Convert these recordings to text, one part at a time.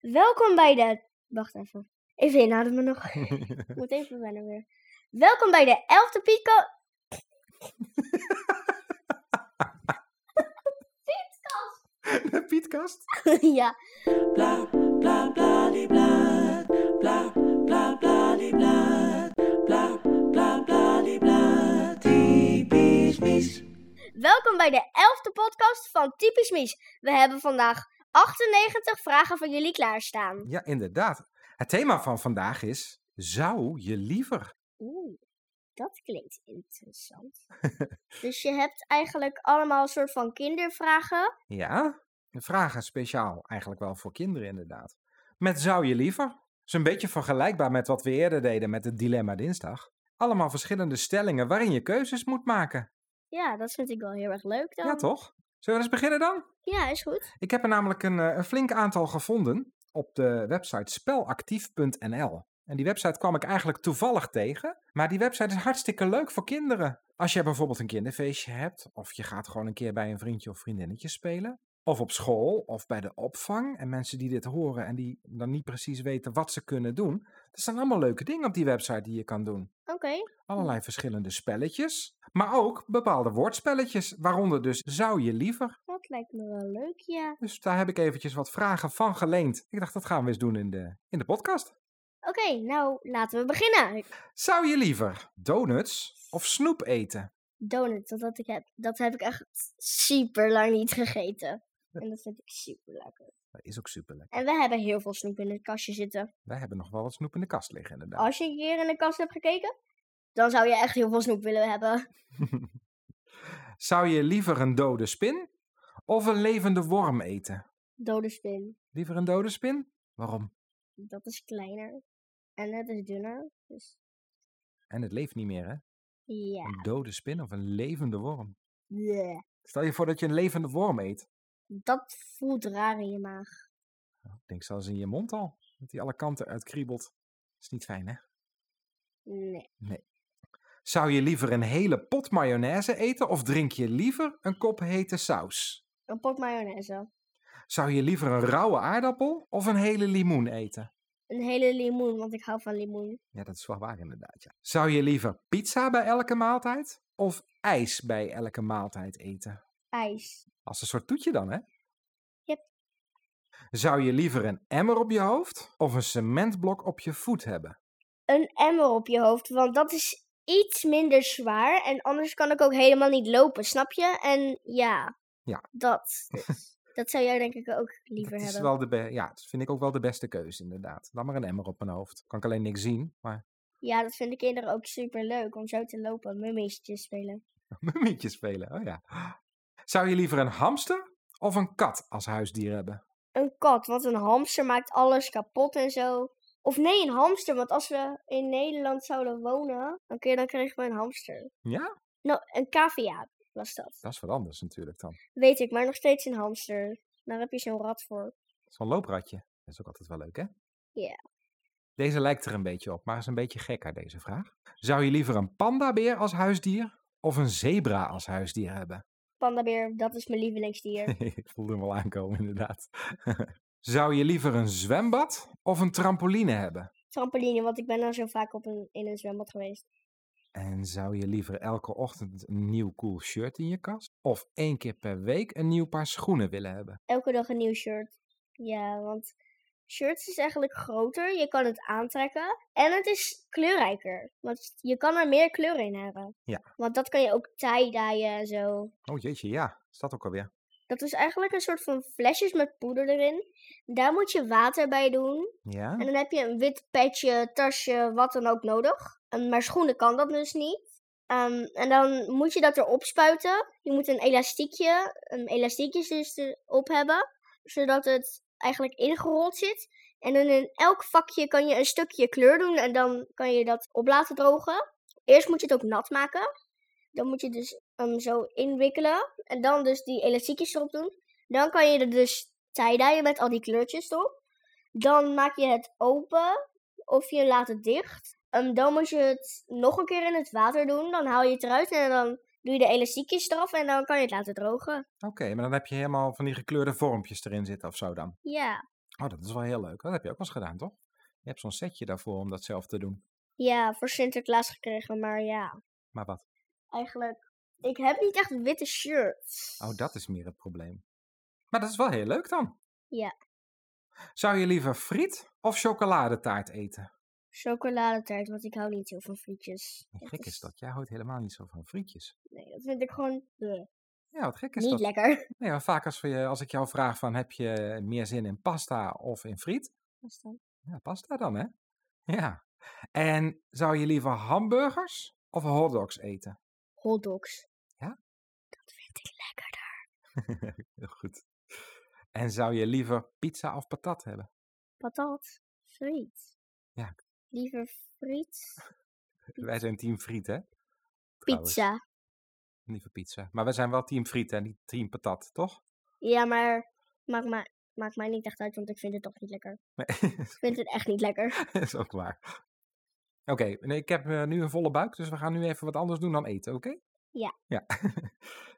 Welkom bij de. Wacht even. Even inademen nog. Ik moet even wennen weer. Welkom bij de 11e Pico. De Pietkast? ja. bla bla bla di bla bla bla bla di bla bla bla bla di bla typisch mis Welkom bij de 11e podcast van Typisch Mies. We hebben vandaag 98 vragen van jullie klaarstaan. Ja, inderdaad. Het thema van vandaag is, zou je liever? Oeh, dat klinkt interessant. dus je hebt eigenlijk allemaal een soort van kindervragen. Ja, vragen speciaal eigenlijk wel voor kinderen inderdaad. Met zou je liever? is een beetje vergelijkbaar met wat we eerder deden met het Dilemma Dinsdag. Allemaal verschillende stellingen waarin je keuzes moet maken. Ja, dat vind ik wel heel erg leuk dan. Ja, toch? Zullen we eens beginnen dan? Ja, is goed. Ik heb er namelijk een, eh, een flink aantal gevonden op de website spelactief.nl. En die website kwam ik eigenlijk toevallig tegen. Maar die website is hartstikke leuk voor kinderen. Als je bijvoorbeeld een kinderfeestje hebt, of je gaat gewoon een keer bij een vriendje of vriendinnetje spelen. Of op school, of bij de opvang. En mensen die dit horen en die dan niet precies weten wat ze kunnen doen. Er staan allemaal leuke dingen op die website die je kan doen. Oké. Allerlei verschillende spelletjes. Maar ook bepaalde woordspelletjes. Waaronder dus zou je liever. Dat lijkt me wel leuk, ja. Dus daar heb ik eventjes wat vragen van geleend. Ik dacht, dat gaan we eens doen in de, in de podcast. Oké, nou laten we beginnen. Zou je liever donuts of snoep eten? Donuts, dat, dat, ik heb, dat heb ik echt super lang niet gegeten. En dat vind ik super lekker. Dat is ook superlekker. En we hebben heel veel snoep in het kastje zitten. Wij hebben nog wel wat snoep in de kast liggen, inderdaad. Als je een keer in de kast hebt gekeken, dan zou je echt heel veel snoep willen hebben. Zou je liever een dode spin of een levende worm eten? Dode spin, Liever een dode spin? Waarom? dat is kleiner. En het is dunner. Dus En het leeft niet meer, hè? ja. Een dode spin of een levende worm? Bleh. Stel je voor dat je een levende worm eet. Dat voelt raar in je maag. Nou, Ik denk zelfs in je mond al, dat die alle kanten uitkriebelt. Dat is niet fijn, hè? Nee. Zou je liever een hele pot mayonaise eten of drink je liever een kop hete saus? Een pot mayonaise. Zou je liever een rauwe aardappel of een hele limoen eten? Een hele limoen, want ik hou van limoen. Ja, dat is wel waar inderdaad. Ja. Zou je liever pizza bij elke maaltijd of ijs bij elke maaltijd eten? IJs. Als een soort toetje dan, hè? Yep. Zou je liever een emmer op je hoofd of een cementblok op je voet hebben? een emmer op je hoofd. Want dat is iets minder zwaar. En anders kan ik ook helemaal niet lopen, snap je? En ja, Ja. dat. dus. dat zou jij denk ik ook liever dat is hebben. wel de be- ja, dat vind ik ook wel de beste keuze inderdaad. Dan maar een emmer op mijn hoofd. Kan ik alleen niks zien, maar Ja, dat vinden kinderen ook super leuk om zo te lopen, mummies te spelen. Mummietje spelen, oh ja. Zou je liever een hamster of een kat als huisdier hebben? Een kat, want een hamster maakt alles kapot en zo. Of nee, een hamster, want als we in Nederland zouden wonen, dan, kun je- dan kregen we een hamster. Ja? Nou, een cavia was dat. Dat is wat anders natuurlijk dan. Weet ik, maar nog steeds een hamster. Daar heb je zo'n rat voor. Zo'n loopratje. Dat is ook altijd wel leuk, hè? Ja. Deze lijkt er een beetje op, maar is een beetje gekker, deze vraag. Zou je liever een pandabeer als huisdier of een zebra als huisdier hebben? Pandabeer, dat is mijn lievelingsdier. Ik voelde hem al aankomen, inderdaad. Zou je liever een zwembad of een trampoline hebben? trampoline, want ik ben al zo vaak op een, in een zwembad geweest. En zou je liever elke ochtend een nieuw cool shirt in je kast? Of één keer per week een nieuw paar schoenen willen hebben? Elke dag een nieuw shirt. Ja, want shirts is eigenlijk groter, je kan het aantrekken en het is kleurrijker. Want je kan er meer kleuren in hebben. Ja. Want dat kan je ook tie-dyeën en zo. Oh jeetje, ja. Is dat ook alweer? Dat is eigenlijk een soort van flesjes met poeder erin. Daar moet je water bij doen. Ja? En dan heb je een wit petje, tasje, wat dan ook nodig. En- Maar schoenen kan dat dus niet. Ehm, en dan moet je dat erop spuiten. Je moet een elastiekje, een elastiekjes dus erop hebben. Zodat het eigenlijk ingerold zit. En dan in elk vakje kan je een stukje kleur doen. En dan kan je dat op laten drogen. Eerst moet je het ook nat maken. Dan moet je dus hem zo inwikkelen. En dan dus die elastiekjes erop doen. Dan kan je er dus tie-dyeën met al die kleurtjes erop. Dan maak je het open of je laat het dicht. En dan moet je het nog een keer in het water doen. Dan haal je het eruit en dan doe je de elastiekjes eraf en dan kan je het laten drogen. Oké, maar dan heb je helemaal van die gekleurde vormpjes erin zitten of zo dan. Ja, Oh, dat is wel heel leuk. Dat heb je ook wel eens gedaan, toch? Je hebt zo'n setje daarvoor om dat zelf te doen. Ja, voor Sinterklaas gekregen, maar ja. Maar wat? Eigenlijk, ik heb niet echt witte shirts. Oh, dat is meer het probleem. Maar dat is wel heel leuk dan. Ja. Zou je liever friet of chocoladetaart eten? Chocoladetaart, want ik hou niet zo van frietjes. Wat gek is dat. Jij houdt helemaal niet zo van frietjes. Nee, dat vind ik gewoon eh, Ja, wat gek is niet dat. lekker. Nee, maar vaak als, we, je- als ik jou vraag van heb je meer zin in pasta of in friet? Ja, pasta dan, hè? Ja. En zou je liever hamburgers of hotdogs eten? Hotdogs. Ja? Dat vind ik lekkerder. Heel goed. En zou je liever pizza of patat hebben? Patat. Friet. Ja. Liever friet. Wij zijn team friet, hè? Trouwens, Pizza. Liever pizza. Maar wij zijn wel team friet en niet team patat, toch? Ja, maar maakt, mij- maakt mij niet echt uit, want ik vind het toch niet lekker. Nee, Ik vind het echt niet lekker. dat is ook waar. Oké, nee, ik heb eh, nu een volle buik, dus we gaan nu even wat anders doen dan eten, oké? Ja. ja.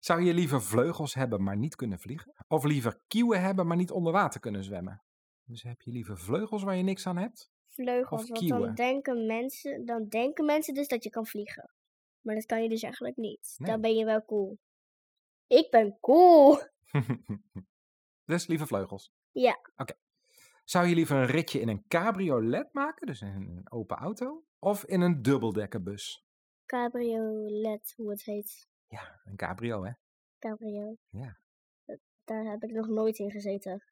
zou je liever vleugels hebben, maar niet kunnen vliegen? Of liever kieuwen hebben, maar niet onder water kunnen zwemmen? Dus heb je liever vleugels waar je niks aan hebt? Vleugels, want Of dan kieuwen. denken, mensen, dan denken mensen dus dat je kan vliegen. Maar dat kan je dus eigenlijk niet. Nee. Dan ben je wel cool. Ik ben cool. dus liever vleugels? Ja. Oké. Zou je liever een ritje in een cabriolet maken, dus in een open auto? Of in een dubbeldekkerbus? Cabriolet, hoe het heet. Ja, een cabrio, hè? Cabrio. Ja. Dat- Daar heb ik nog nooit in gezeten.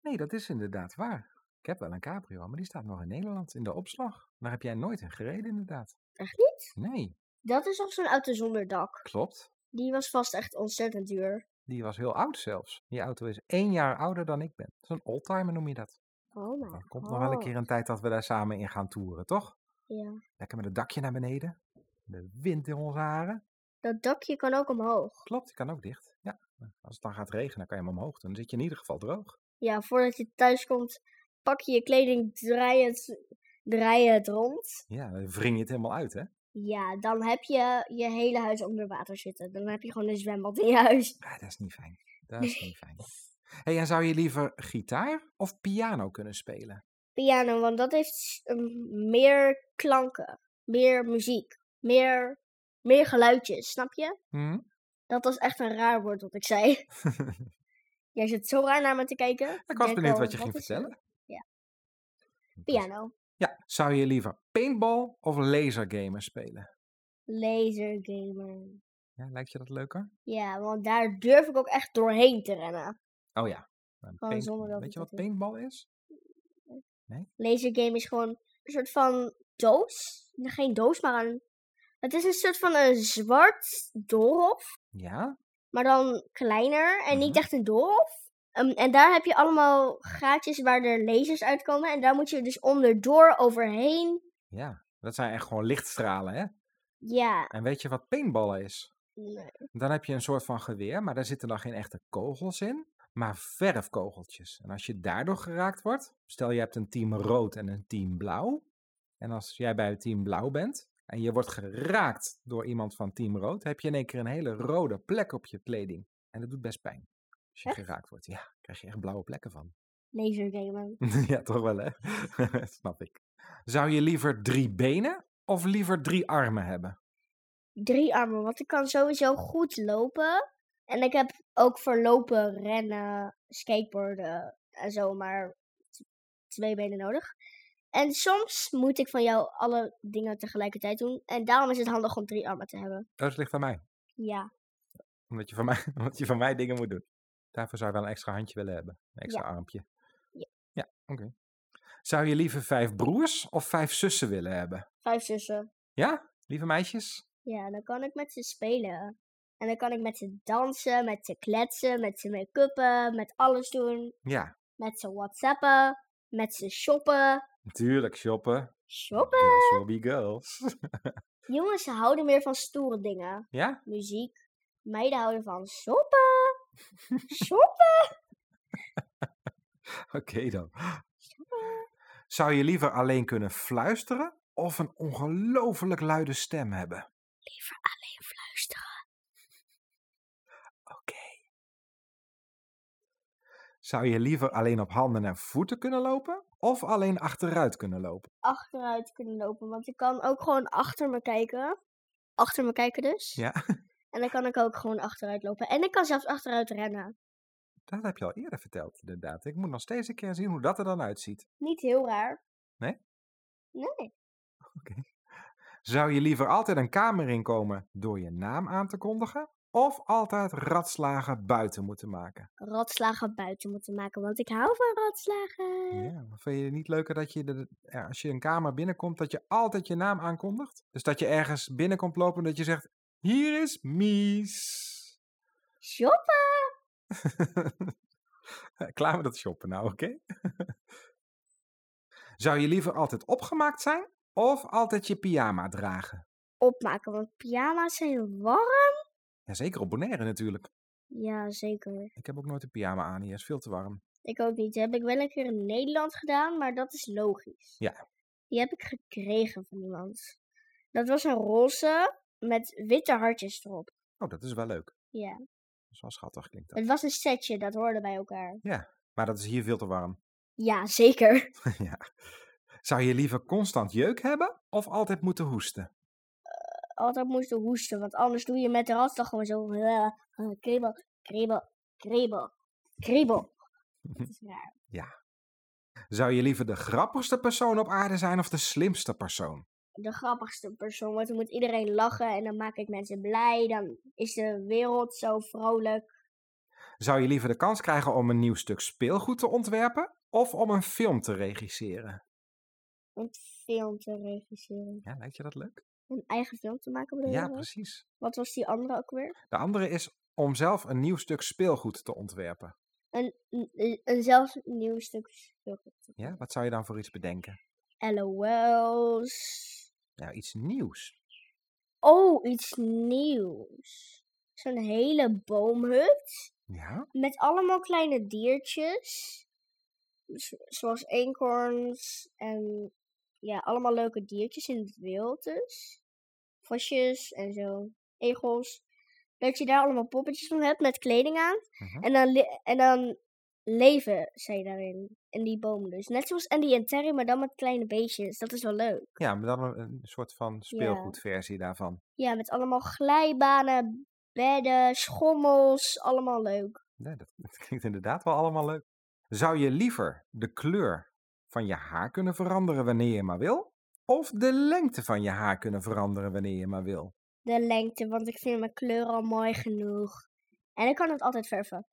Nee, dat is inderdaad waar. Ik heb wel een cabrio, maar die staat nog in Nederland in de opslag. Daar heb jij nooit in gereden, inderdaad. Echt niet? Nee, Dat is nog zo'n auto zonder dak. klopt. Die was vast echt ontzettend duur. Die was heel oud zelfs. Die auto is één jaar ouder dan ik ben. Dat is een oldtimer noem je dat. Oh mijn Er komt nog wel een god. keer een tijd dat we daar samen in gaan toeren, toch? Ja. Lekker met het dakje naar beneden. De wind in onze haren. Dat dakje kan ook omhoog. Klopt, die kan ook dicht. Ja, als het dan gaat regenen, dan kan je hem omhoog doen. Dan zit je in ieder geval droog. Ja, voordat je thuis komt, pak je je kleding, draai het, draai het rond. Ja, dan wring je het helemaal uit, hè? Ja, dan heb je je hele huis onder water zitten. Dan heb je gewoon een zwembad in je huis. Ah, dat is niet fijn. Dat is niet fijn. Hey, en zou je liever gitaar of piano kunnen spelen? Piano, want dat heeft s- een- meer klanken, meer muziek, meer, meer geluidjes, snap je? Hm? Dat was echt een raar woord wat ik zei. Jij zit zo raar naar me te kijken. ik was denk benieuwd al, wat je ging is er? vertellen. Piano, Ja, zou je liever paintball of lasergamen spelen? lasergamer. Ja, lijkt je dat leuker? Ja, want daar durf ik ook echt doorheen te rennen. Oh ja. een Gewoon zonder dat Weet ik je wat dat doe. paintball is? Lasergame is gewoon een soort van doos. Nee, Geen doos, maar een. Het is een soort van een zwart doolhof, Ja, maar dan kleiner en niet Mhm. echt een doolhof. Ehm, en daar heb je allemaal gaatjes waar er lasers uitkomen. En daar moet je dus onderdoor overheen. ja. Dat zijn echt gewoon lichtstralen, hè? Ja, En weet je wat paintballen is? nee, Dan heb je een soort van geweer, maar daar zitten dan geen echte kogels in, maar verfkogeltjes. En als je daardoor geraakt wordt, stel je hebt een team rood en een team blauw. En als jij bij het team blauw bent en je wordt geraakt door iemand van team rood, heb je in één keer een hele rode plek op je kleding. En dat doet best pijn. Als je Echt? geraakt wordt, ja, krijg je echt blauwe plekken van. lasergamen. ja, toch wel hè? Snap ik. Zou je liever drie benen of liever drie armen hebben? Drie armen, want ik kan sowieso goed lopen. En ik heb ook voor lopen, rennen, skateboarden en zo maar t- twee benen nodig. En soms moet ik van jou alle dingen tegelijkertijd doen. En daarom is het handig om drie armen te hebben. Dat ligt aan mij. Ja, Omdat je van mij, omdat je van mij dingen moet doen. Daarvoor zou je wel een extra handje willen hebben. Een extra armpje. Ja. Ja, oké. Zou je liever vijf broers of vijf zussen willen hebben? vijf zussen. Ja, lieve meisjes? Ja, dan kan ik met ze spelen. En dan kan ik met ze dansen, met ze kletsen, met ze make-uppen, met alles doen. Ja, Met ze whatsappen, met ze shoppen. natuurlijk shoppen. Shoppen? Girls will be girls. Jongens ze houden meer van stoere dingen. ja? Muziek. Meiden houden van shoppen. Shoppen. Oké dan. Zou je liever alleen kunnen fluisteren of een ongelooflijk luide stem hebben? Fluisteren. Oké. Zou je liever alleen op handen en voeten kunnen lopen of alleen achteruit kunnen lopen? achteruit kunnen lopen. Want ik kan ook gewoon achter me kijken. Achter me kijken dus. Ja. En dan kan ik ook gewoon achteruit lopen. En ik kan zelfs achteruit rennen. Dat heb je al eerder verteld, inderdaad. Ik moet nog steeds een keer zien hoe dat er dan uitziet. Niet heel raar. Nee? Nee. Zou je liever altijd een kamer inkomen door je naam aan te kondigen? Of altijd ratslagen buiten moeten maken? Radslagen buiten moeten maken, want ik hou van radslagen. Ja, maar vind je het niet leuker dat je, de, ja, als je een kamer binnenkomt, dat je altijd je naam aankondigt? Dus dat je ergens binnenkomt lopen en dat je zegt, hier is Mies. Shoppen! Eh, Klaar met dat shoppen nou, oké? Zou je liever altijd opgemaakt zijn of altijd je pyjama dragen? Opmaken, want pyjama's zijn warm. Ja, zeker op Bonaire natuurlijk. Ja, zeker. Ik heb ook nooit een pyjama aan hier, is veel te warm. Ik ook niet. Die heb ik wel een keer in Nederland gedaan, maar dat is logisch. Ja. Die heb ik gekregen van iemand. Dat was een roze met witte hartjes erop. Oh, dat is wel leuk. Ja. Dat is wel schattig, klinkt dat. Het was een setje, dat hoorde bij elkaar. Maar dat is hier veel te warm. Ja, zeker. ja. Zou je liever constant jeuk hebben of altijd moeten hoesten? Altijd moesten hoesten, want anders doe je met de hartslag gewoon zo... eh, eh, kriebel, kriebel, kriebel, kriebel. Dat is raar. Zou je liever de grappigste persoon op aarde zijn of de slimste persoon? De grappigste persoon, want dan moet iedereen lachen en dan maak ik mensen blij. Dan is de wereld zo vrolijk. Zou je liever de kans krijgen om een nieuw stuk speelgoed te ontwerpen of om een film te regisseren? Een film te regisseren. Ja, lijkt je dat leuk? Een eigen film te maken bedoel Ja, je? precies. Wat was die andere ook weer? De andere is om zelf een nieuw stuk speelgoed te ontwerpen. Een, een, een zelfs nieuw stuk speelgoed. Ja, wat zou je dan voor iets bedenken? LOL's. Nou, iets nieuws. Oh, iets nieuws. Zo'n hele boomhut Ja? met allemaal kleine diertjes. Z- zoals eekhoorns en ja, allemaal leuke diertjes in het wild dus. Vosjes en zo, egels. Dat je daar allemaal poppetjes van hebt met kleding aan. Mhm. En, dan le- en dan leven zij daarin, in die bomen dus. Net zoals Andy en Terry, maar dan met kleine beestjes. Dat is wel leuk. Ja, maar dan een, een soort van speelgoedversie daarvan. Ja, met allemaal glijbanen, bedden, schommels, allemaal leuk. Nee, dat, dat klinkt inderdaad wel allemaal leuk. Zou je liever de kleur van je haar kunnen veranderen wanneer je maar wil? Of de lengte van je haar kunnen veranderen wanneer je maar wil? De lengte, want ik vind mijn kleur al mooi genoeg. En ik kan het altijd verven.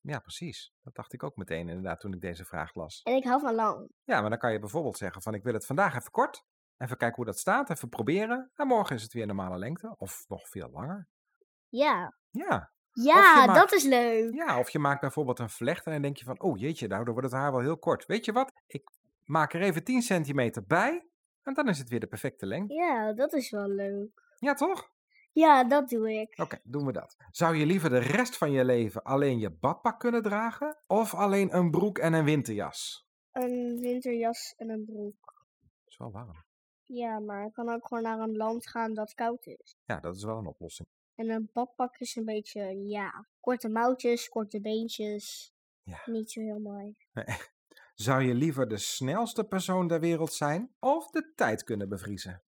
Ja, precies. Dat dacht ik ook meteen inderdaad toen ik deze vraag las. En ik hou van lang. Ja, maar dan kan je bijvoorbeeld zeggen van ik wil het vandaag even kort. Even kijken hoe dat staat, even proberen. En morgen is het weer normale lengte of nog veel langer. Ja. Ja, Ja, maakt- dat is leuk. ja of je maakt bijvoorbeeld een vlecht en dan denk je van oh jeetje, daardoor wordt het haar wel heel kort. Weet je wat, ik maak er even 10 centimeter bij en dan is het weer de perfecte lengte. Ja, dat is wel leuk. Ja toch? Ja, dat doe ik. Oké, doen we dat. Zou je liever de rest van je leven alleen je badpak kunnen dragen of alleen een broek en een winterjas? Een winterjas en een broek. Dat is wel warm. Ja, maar ik kan ook gewoon naar een land gaan dat koud is. Ja, dat is wel een oplossing. En een badpak is een beetje, ja, korte mouwtjes, korte beentjes. Ja. Niet zo heel mooi. Zou je liever de snelste persoon ter wereld zijn of de tijd kunnen bevriezen?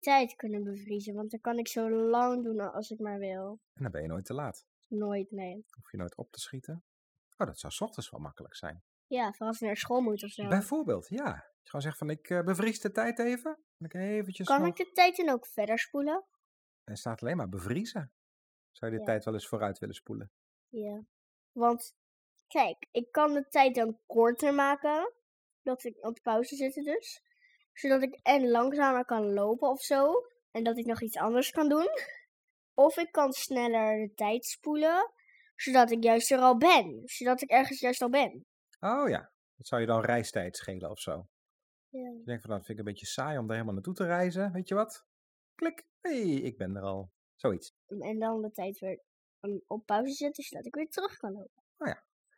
tijd kunnen bevriezen. Want dan kan ik zo lang doen a- als ik maar wil. En dan ben je nooit te laat. Nooit, nee. Hoef je nooit op te schieten. Oh, dat zou 's ochtends wel makkelijk zijn. Ja, vooral als je naar school moet of zo. Bijvoorbeeld, ja. Dat je Gewoon zeggen van, ik eh, bevries de tijd even. En ik eventjes Kan nog- ik de tijd dan ook verder spoelen? En staat alleen maar bevriezen. Zou je de Ja. tijd wel eens vooruit willen spoelen? Ja. Want, kijk, ik kan de tijd dan korter maken. Dat ik op pauze zit dus. Zodat ik en langzamer kan lopen of zo. En dat ik nog iets anders kan doen. Of ik kan sneller de tijd spoelen. Zodat ik juist er al ben. Zodat ik ergens juist al ben. Oh ja. Dat zou je dan reistijd schelen of zo. Ja. Je denkt van, nou, dat vind ik een beetje saai om daar helemaal naartoe te reizen. Weet je wat? Klik. hey, ik ben er al. Zoiets. En dan de tijd weer um, op pauze zetten, zodat ik weer terug kan lopen.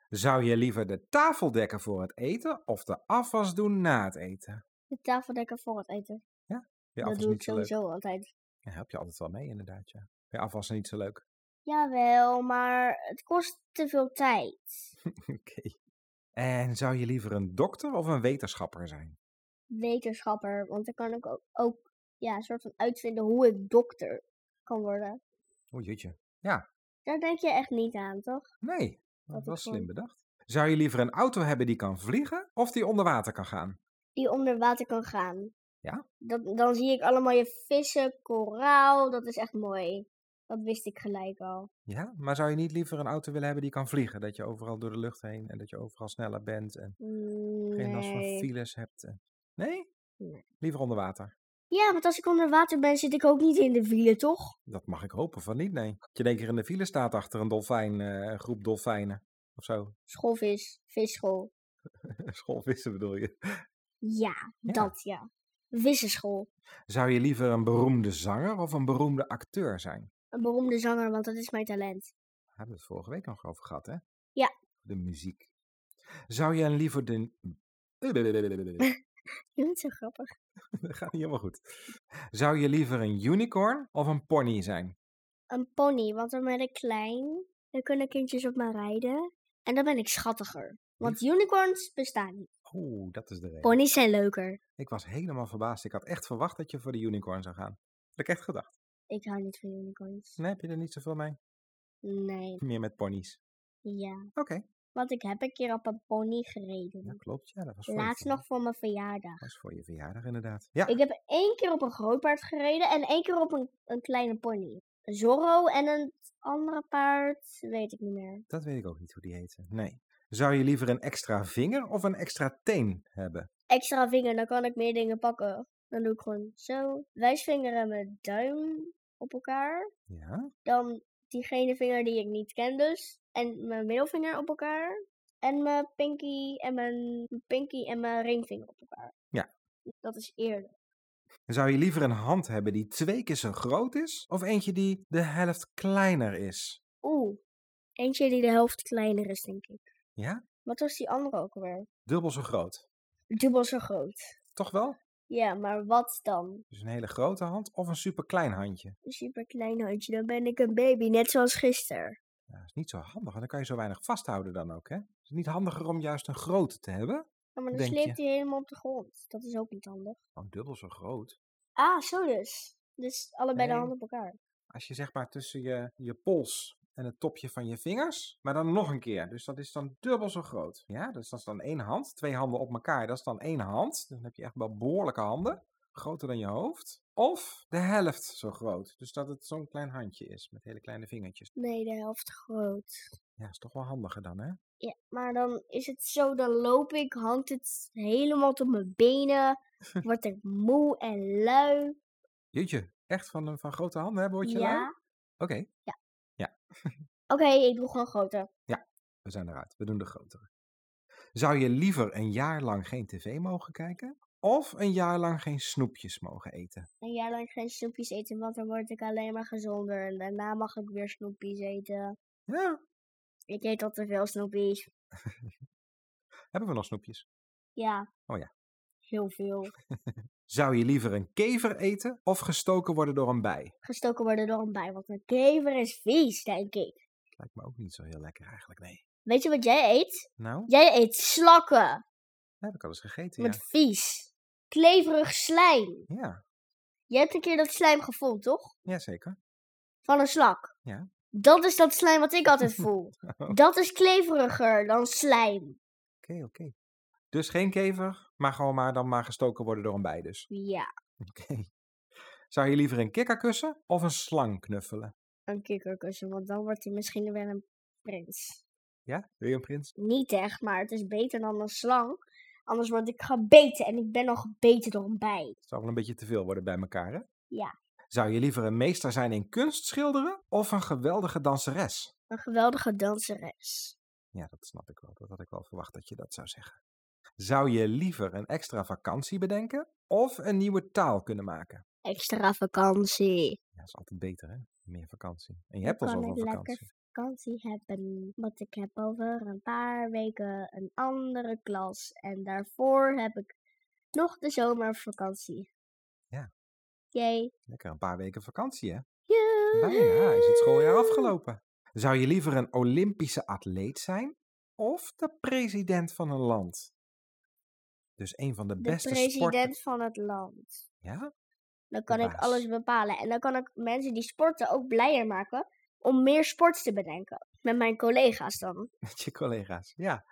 Zou je liever de tafel dekken voor het eten of de afwas doen na het eten? De tafeldekker voor het eten. Ja, dat afwas doe ik niet zo leuk. sowieso altijd. Ja, help je altijd wel mee, inderdaad. Ja. Bij afwassen niet zo leuk. Jawel, maar het kost te veel tijd. Oké. En zou je liever een dokter of een wetenschapper zijn? Wetenschapper, want dan kan ik ook, ook ja, een soort van uitvinden hoe ik dokter kan worden. O jeetje. Daar denk je echt niet aan, toch? Nee, Dat dat is was slim gewoon- bedacht. Zou je liever een auto hebben die kan vliegen of die onder water kan gaan? Die onder water kan gaan. Ja? Dat, dan zie ik allemaal je vissen, koraal. Dat is echt mooi. Dat wist ik gelijk al. Ja, maar zou je niet liever een auto willen hebben die kan vliegen? Dat je overal door de lucht heen en dat je overal sneller bent en Mm, geen last van nee. files hebt. en- Nee? Nee. Liever onder water. Ja, want als ik onder water ben, zit ik ook niet in de wielen, toch? Dat mag ik hopen van niet, nee. Dat je in één keer in de file staat achter een dolfijn, eh, een groep dolfijnen of zo. Schoolvis, visschool. Schoolvissen bedoel je. Ja, Ja. dat ja. Wissenschool. Zou je liever een beroemde zanger of een beroemde acteur zijn? Een beroemde zanger, want dat is mijn talent. Daar hebben we het vorige week nog over gehad, hè? Ja. De muziek. Zou je liever de... Je bent zo grappig. Dat gaat niet helemaal goed. Zou je liever een unicorn of een pony zijn? Een pony, want dan ben ik klein. Dan kunnen kindjes op me rijden. En dan ben ik schattiger. Hm. Want unicorns bestaan niet. Oeh, dat is de reden. Ponies zijn leuker. Ik was helemaal verbaasd. Ik had echt verwacht dat je voor de unicorn zou gaan. Had ik echt gedacht. Ik hou niet van unicorns. Nee, heb je er niet zoveel mee? Nee, Meer met ponies. ja. Oké. Want ik heb een keer op een pony gereden. Dat klopt, ja. Dat was voor, Laatst je, nog voor mijn verjaardag. was voor je verjaardag inderdaad. Ja, Ik heb één keer op een groot paard gereden en één keer op een, een kleine pony. Een Zorro en een andere paard, weet ik niet meer. dat weet ik ook niet hoe die heette. Nee. Zou je liever een extra vinger of een extra teen hebben? Extra vinger, dan kan ik meer dingen pakken. Dan doe ik gewoon zo. Wijsvinger en mijn duim op elkaar. Ja. Dan diegene vinger die ik niet ken dus. En mijn middelvinger op elkaar. En mijn pinky en mijn, mijn pinky en mijn ringvinger op elkaar. Ja. Dat is eerlijk. Zou je liever een hand hebben die twee keer zo groot is? Of eentje die de helft kleiner is? Oeh. Eentje die de helft kleiner is, denk ik. Ja? Wat was die andere ook alweer? Dubbel zo groot. Dubbel zo groot. Toch wel? Ja, maar wat dan? Dus een hele grote hand of een superklein handje? Een superklein handje, dan ben ik een baby, net zoals gisteren. Ja, dat is niet zo handig, want dan kan je zo weinig vasthouden dan ook, hè? Is het niet handiger om juist een grote te hebben? Ja, Oh, maar dan Denk je? sleept hij helemaal op de grond. Dat is ook niet handig. Oh, dubbel zo groot. Ah, zo dus. Dus allebei Nee. de handen op elkaar. Als je zeg maar tussen je, je pols en het topje van je vingers, maar dan nog een keer. Dus dat is dan dubbel zo groot. Ja, dus dat is dan één hand. Twee handen op elkaar, dat is dan één hand. Dus dan heb je echt wel behoorlijke handen. Groter dan je hoofd. Of de helft zo groot. Dus dat het zo'n klein handje is, met hele kleine vingertjes. Nee, de helft groot. Ja, is toch wel handiger dan, hè? Ja, maar dan is het zo, dan loop ik, hangt het helemaal tot mijn benen. Word ik moe en lui. Jeetje, echt van, een- van grote handen, hè? Word je lui? ja. Oké, Oké, ik doe gewoon groter. we zijn eruit. We doen de grotere. Zou je liever een jaar lang geen tv mogen kijken? Of een jaar lang geen snoepjes mogen eten? Een jaar lang geen snoepjes eten, want dan word ik alleen maar gezonder. En daarna mag ik weer snoepjes eten. Ja, Ik eet al te veel snoepjes. hebben we nog snoepjes? Ja. Oh ja. Heel veel. Zou je liever een kever eten of gestoken worden door een bij? Gestoken worden door een bij, want een kever is vies, denk ik. Dat lijkt me ook niet zo heel lekker eigenlijk, nee. Weet je wat jij eet? Nou, Jij eet slakken dat heb ik al eens gegeten, ja. met vies. Kleverig slijm. Ja, Je hebt een keer dat slijm gevoeld, toch? jazeker. Van een slak. Ja. Dat is dat slijm wat ik altijd voel. Dat is kleveriger dan slijm. Oké, oké. Dus geen kever, maar gewoon maar dan maar gestoken worden door een bij dus. Ja, Oké. Zou je liever een kikker kussen of een slang knuffelen? een kikkerkussen, want dan wordt hij misschien weer een prins. Ja, wil je een prins? Niet echt, maar het is beter dan een slang. Anders word ik gebeten en ik ben al gebeten door een bij. Het zou wel een beetje te veel worden bij elkaar, hè? Ja. Zou je liever een meester zijn in kunst schilderen of een geweldige danseres? Een geweldige danseres. Ja, dat snap ik wel. Dat had ik wel verwacht dat je dat zou zeggen. Zou je liever een extra vakantie bedenken of een nieuwe taal kunnen maken? Extra vakantie. Ja, dat is altijd beter, hè? Meer vakantie. En je hebt al kan zoveel ik lekker vakantie. vakantie hebben. Want ik heb over een paar weken een andere klas. En daarvoor heb ik nog de zomervakantie. Ja. Yay. Lekker een paar weken vakantie, hè? Joe. Bijna Nou is het schooljaar afgelopen. Zou je liever een Olympische atleet zijn of de president van een land? Dus een van de, De beste sporten. president van het land. Ja? Dan kan ik baas. alles bepalen. En dan kan ik mensen die sporten ook blijer maken om meer sports te bedenken. Met mijn collega's dan. Met je collega's. Ja.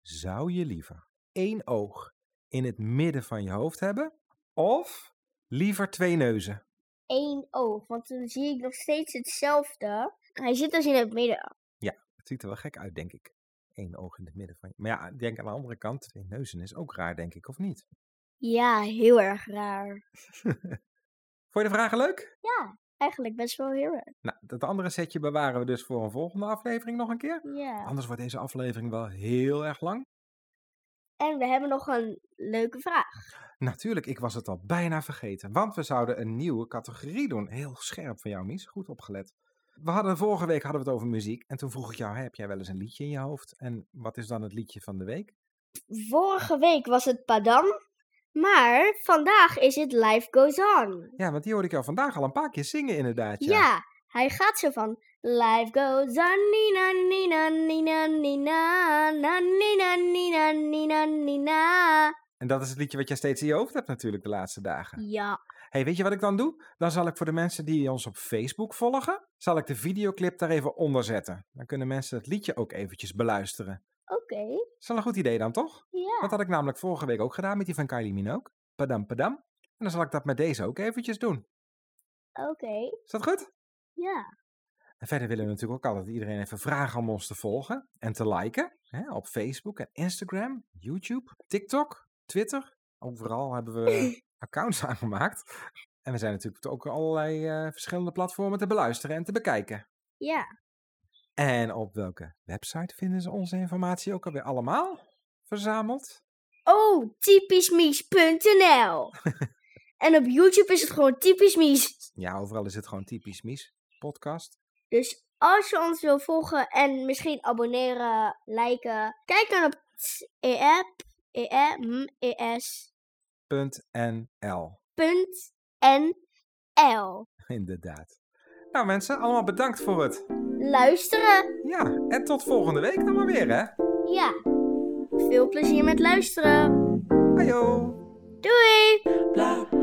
Zou je liever één oog in het midden van je hoofd hebben of liever twee neuzen? Eén oog, want dan zie ik nog steeds hetzelfde. Hij zit dus in het midden. Het ziet er wel gek uit, denk ik. Eén oog in het midden van je. Maar ja, ik denk aan de andere kant, twee neuzen is ook raar, denk ik, of niet? Ja, heel erg raar. Vond je de vragen leuk? Eigenlijk best wel heel erg. Nou, dat andere setje bewaren we dus voor een volgende aflevering nog een keer. Ja. Anders wordt deze aflevering wel heel erg lang. En we hebben nog een leuke vraag. Natuurlijk, ik was het al bijna vergeten, want we zouden een nieuwe categorie doen. Heel scherp van jou, Mies. Goed opgelet. We hadden vorige week hadden we het over muziek en toen vroeg ik jou, heb jij wel eens een liedje in je hoofd? En wat is dan het liedje van de week? Vorige week was het Padam. Maar vandaag is het Life Goes On. Ja, want die hoorde ik jou vandaag al een paar keer zingen inderdaad. Ja, hij gaat zo van. Life goes on, nina, nina, nina, nina, na, nina, nina, nina, nina. En dat is het liedje wat jij steeds in je hoofd hebt natuurlijk de laatste dagen. Ja, Hey, weet je wat ik dan doe? Dan zal ik voor de mensen die ons op Facebook volgen, zal ik de videoclip daar even onder zetten. Dan kunnen mensen het liedje ook eventjes beluisteren. oké. Is wel een goed idee dan, toch? Ja, Dat had ik namelijk vorige week ook gedaan met die van Kylie Minogue. Padam, padam. En dan zal ik dat met deze ook eventjes doen. oké. Is dat goed? Ja, En verder willen we natuurlijk ook altijd iedereen even vragen om ons te volgen en te liken. Hè, op Facebook en Instagram, YouTube, TikTok, Twitter. Overal hebben we accounts aangemaakt. En we zijn natuurlijk ook allerlei eh, verschillende platformen te beluisteren en te bekijken. ja. En op welke website vinden ze onze informatie ook alweer allemaal verzameld? Oh, typischmies.nl. en op YouTube is het gewoon typisch mies. Ja, overal is het gewoon typisch Mies podcast. Dus als je ons wil volgen en misschien abonneren, liken, kijk dan op e-app, .nl. nl Inderdaad. Nou mensen, allemaal bedankt voor het. Luisteren, Ja, en tot volgende week dan maar weer hè. ja. Veel plezier met luisteren. Ajo. Doei! blah